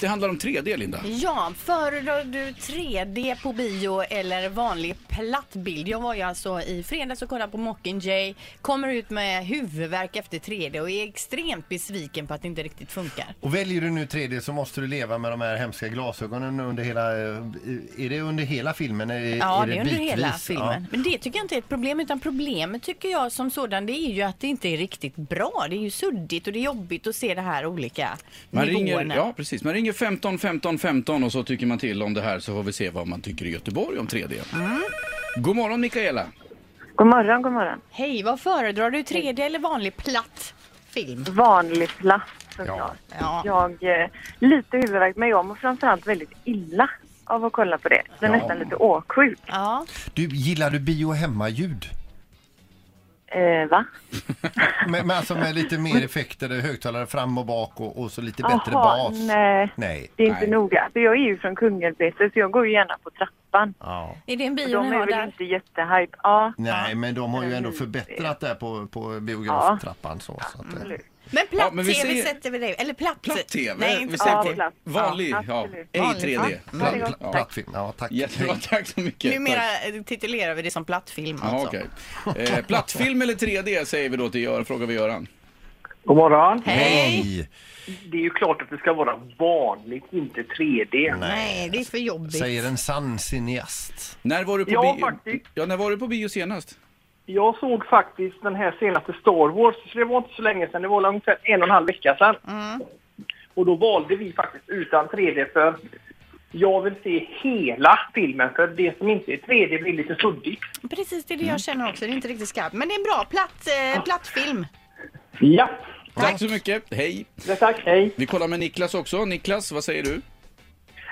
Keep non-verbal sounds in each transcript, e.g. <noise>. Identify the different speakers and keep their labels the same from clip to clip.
Speaker 1: Det handlar om 3D, Linda.
Speaker 2: Ja, föredrar du 3D på bio eller vanlig plattbild? Jag var ju alltså i fredags och kollade på Mockingjay, kommer ut med huvudvärk efter 3D och är extremt besviken på att det inte riktigt funkar.
Speaker 3: Och väljer du nu 3D så måste du leva med de här hemska glasögonen under hela... eh, Är det under hela filmen? Är,
Speaker 2: Ja,
Speaker 3: är
Speaker 2: det är under hela
Speaker 3: bitvis?
Speaker 2: filmen.
Speaker 3: Ja.
Speaker 2: Men det tycker jag inte är ett problem, utan problemet tycker jag som sådan det är ju att det inte är riktigt bra. Det är ju suddigt och det är jobbigt att se det här olika
Speaker 1: Man ringer,
Speaker 2: nivåerna.
Speaker 1: ja, precis. Man ringer 15 15 15 och så tycker man till om det här så får vi se vad man tycker i Göteborg om 3D.
Speaker 2: Mm.
Speaker 1: God morgon Mikaela.
Speaker 4: God morgon, god morgon.
Speaker 2: Hej, vad föredrar du 3D eller vanlig platt film?
Speaker 4: Vanlig plast såklart.
Speaker 2: Ja.
Speaker 4: Jag eh, lite huvudvärk, men jag mår framförallt väldigt illa av att kolla på det. Så jag är nästan lite åksjuk.
Speaker 2: Ja,
Speaker 3: Du, gillar du bio hemmaljud?
Speaker 4: Eh, va?
Speaker 3: Men, men alltså med lite mer effekter, eh, högtalare fram och bak och, och så lite bättre
Speaker 4: Jaha,
Speaker 3: bas?
Speaker 4: nej.
Speaker 3: Nej.
Speaker 4: Det är inte
Speaker 1: Nej.
Speaker 4: noga. För jag är ju från Kungälvsbete så jag går ju gärna på trappan.
Speaker 3: Ja.
Speaker 2: är det en bio
Speaker 4: De
Speaker 2: ni
Speaker 4: är
Speaker 2: har
Speaker 4: väl
Speaker 2: där?
Speaker 4: inte jättehype. Ja,
Speaker 3: Nej, men de har ju
Speaker 4: Mm.
Speaker 3: ändå förbättrat det här på, på biograftrappan. Så, så att, eh,
Speaker 4: absolut.
Speaker 2: Men platt
Speaker 1: Ja, men vi
Speaker 2: tv
Speaker 1: säger-
Speaker 2: sätter vi det. Eller platt.
Speaker 1: Platt-TV.
Speaker 2: Nej, inte
Speaker 1: Vi
Speaker 2: platt.
Speaker 1: säger på-
Speaker 4: Ja,
Speaker 2: TV.
Speaker 4: platt.
Speaker 1: Vanlig,
Speaker 4: Ja,
Speaker 1: ja.
Speaker 4: absolut.
Speaker 1: Ej
Speaker 2: Vanlig,
Speaker 1: 3D.
Speaker 2: ja.
Speaker 1: Platt-
Speaker 3: pla-
Speaker 1: ja.
Speaker 3: Plattfilm, ja
Speaker 2: <laughs>
Speaker 3: tack.
Speaker 1: Jättebra, tack så mycket. Tack.
Speaker 2: Numera eh, titulerar vi det som plattfilm
Speaker 1: Ja,
Speaker 2: alltså.
Speaker 1: okej. eh, plattfilm eller 3D säger vi då till Göran, frågar vi Göran.
Speaker 5: God morgon.
Speaker 2: Hej!
Speaker 3: Hej!
Speaker 5: Det är ju klart att det ska vara vanligt, inte 3D.
Speaker 2: Nej, det är för jobbigt.
Speaker 3: Säger en sann cineast.
Speaker 1: När var du på
Speaker 5: Ja,
Speaker 1: bio?
Speaker 5: faktiskt.
Speaker 1: Ja, när var du på bio senast?
Speaker 5: Jag såg faktiskt den här senaste Star Wars, så det var inte så länge sedan. Det var ungefär en och en halv vecka sedan.
Speaker 6: Mm.
Speaker 5: Och då valde vi faktiskt utan 3D för jag vill se hela filmen för det som inte är 3D blir lite suddigt.
Speaker 2: Precis, det är det jag känner också. Det är inte riktigt skarpt. Men det är en bra platt, eh, plattfilm.
Speaker 5: Ja,
Speaker 1: Tack. så mycket. Hej.
Speaker 5: det tack. Hej.
Speaker 1: Vi kollar med Niklas också. Niklas, vad säger du?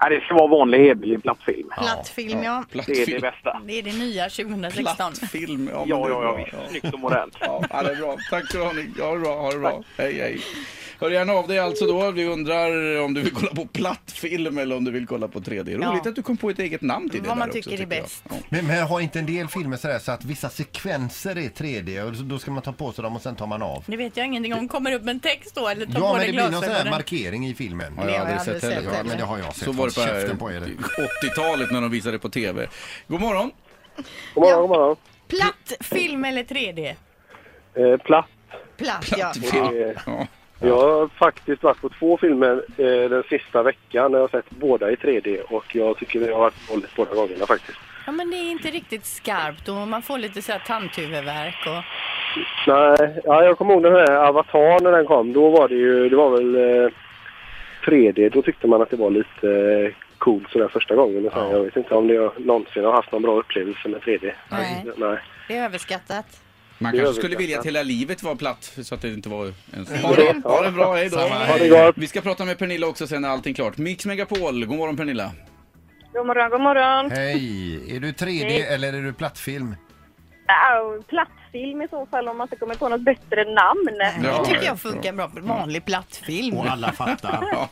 Speaker 6: Ja, det ska vara vanlig hederlig plattfilm.
Speaker 2: Plattfilm, ja.
Speaker 6: Det är det
Speaker 1: Plattfilm.
Speaker 6: bästa.
Speaker 2: Det är det nya 2016.
Speaker 1: Plattfilm. Ja, men
Speaker 6: Ja,
Speaker 1: det är
Speaker 6: ja,
Speaker 1: bra.
Speaker 6: ja, visst. Snyggt och modernt.
Speaker 1: Ja, ja, det är bra. Tack ska du ha Nick. Ha det bra. Ha det bra. Hej, hej. Hör gärna av dig alltså då. Vi undrar om du vill kolla på plattfilm eller om du vill kolla på 3D. Roligt
Speaker 2: Ja.
Speaker 1: att du kom på ett eget namn till det
Speaker 2: Vad
Speaker 1: där
Speaker 2: man
Speaker 1: också,
Speaker 2: tycker är
Speaker 1: jag.
Speaker 2: bäst.
Speaker 1: Ja.
Speaker 3: Men, men har inte en del filmer sådär så att vissa sekvenser är 3D och så- då ska man ta på sig dem och sen tar man av?
Speaker 2: Nu vet jag ingenting om. Kommer upp en text då eller tar
Speaker 3: Ja,
Speaker 2: på
Speaker 3: men det
Speaker 2: dig
Speaker 3: blir någon sån här
Speaker 2: glasögonen?
Speaker 3: markering i filmen.
Speaker 1: Har jag
Speaker 2: har jag
Speaker 1: aldrig
Speaker 2: aldrig
Speaker 1: sett heller.
Speaker 2: sett
Speaker 3: Ja,
Speaker 2: heller.
Speaker 3: men det har jag sett.
Speaker 1: Så var det
Speaker 3: Håll käften på
Speaker 1: på
Speaker 3: er.
Speaker 1: 80-talet när de visade det på TV. God morgon.
Speaker 6: God morgon, god morgon.
Speaker 2: Platt film eller 3D?
Speaker 6: Eh, platt.
Speaker 2: Platt, ja.
Speaker 1: Plattfilm.
Speaker 6: Ja.
Speaker 1: Ja.
Speaker 6: Jag har faktiskt varit på två filmer eh, den sista veckan. Jag har sett båda i 3D och jag tycker det har varit dåligt båda gångerna faktiskt.
Speaker 2: Ja, men det är inte riktigt skarpt och man får lite så här tandhuvudvärk och...
Speaker 6: Nej, ja, jag kommer ihåg den här Avatar när den kom. Då var det ju, det var väl eh, 3D. Då tyckte man att det var lite eh, coolt sådär första gången. Men sen, Jag vet inte om det jag någonsin har haft någon bra upplevelse med 3D.
Speaker 2: Nej.
Speaker 6: Nej.
Speaker 2: Det är överskattat.
Speaker 1: Man
Speaker 6: Det
Speaker 1: kanske
Speaker 6: gör vi
Speaker 1: skulle vilja
Speaker 6: kanske.
Speaker 1: att hela livet var platt så att det inte var en ha det, ha det bra, hej då.
Speaker 3: Ha
Speaker 6: det gott.
Speaker 1: Vi ska prata med Pernilla också sen när allting är klart. Mix Megapol, god morgon Pernilla.
Speaker 4: God morgon, god morgon.
Speaker 3: Hej! Är du 3D eller är du plattfilm?
Speaker 4: Äh, plattfilm i så fall om man inte kommer på något bättre namn.
Speaker 1: Ja,
Speaker 2: det tycker
Speaker 1: ja,
Speaker 2: jag funkar bra. Vanlig plattfilm.
Speaker 3: Och alla fattar.
Speaker 1: Ja.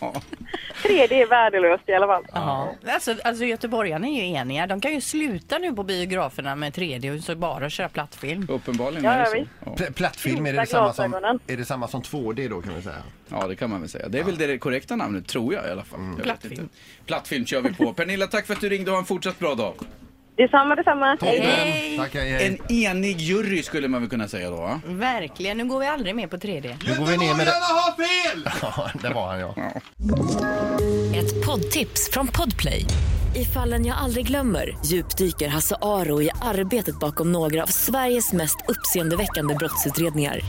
Speaker 4: 3D är värdelöst i alla fall.
Speaker 2: Ja. Alltså, alltså göteborgarna är ju eniga. De kan ju sluta nu på biograferna med 3D och så bara köra plattfilm.
Speaker 1: Uppenbarligen
Speaker 4: Ja,
Speaker 1: är det
Speaker 4: ja,
Speaker 1: så.
Speaker 4: visst.
Speaker 1: Ja.
Speaker 3: Pl- Plattfilm, är det,
Speaker 4: Minsta
Speaker 3: samma som,
Speaker 4: glasögonen.
Speaker 3: är det samma som 2D då kan vi säga?
Speaker 1: ja, det kan man väl säga. Det är väl det korrekta namnet, tror jag i alla fall. Jag vet
Speaker 2: Plattfilm.
Speaker 1: inte. Plattfilm kör vi på. Pernilla, tack för att du ringde och ha en fortsatt bra dag.
Speaker 4: Detsamma, detsamma.
Speaker 3: Toppen! Tack, hej, hej.
Speaker 1: En enig jury skulle man väl kunna säga då, va?
Speaker 2: Verkligen, nu går vi aldrig mer på 3D.
Speaker 3: Nu går vi ner med det. <laughs> Ja, där var han ja.
Speaker 7: Ett poddtips från Podplay. I fallen jag aldrig glömmer djupdyker Hasse Aro i arbetet bakom några av Sveriges mest uppseendeväckande brottsutredningar.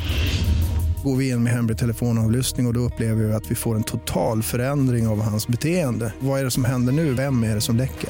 Speaker 8: Går vi in med hemlig telefonavlyssning och, och då upplever vi att vi får en total förändring av hans beteende. Vad är det som händer nu? Vem är det som läcker?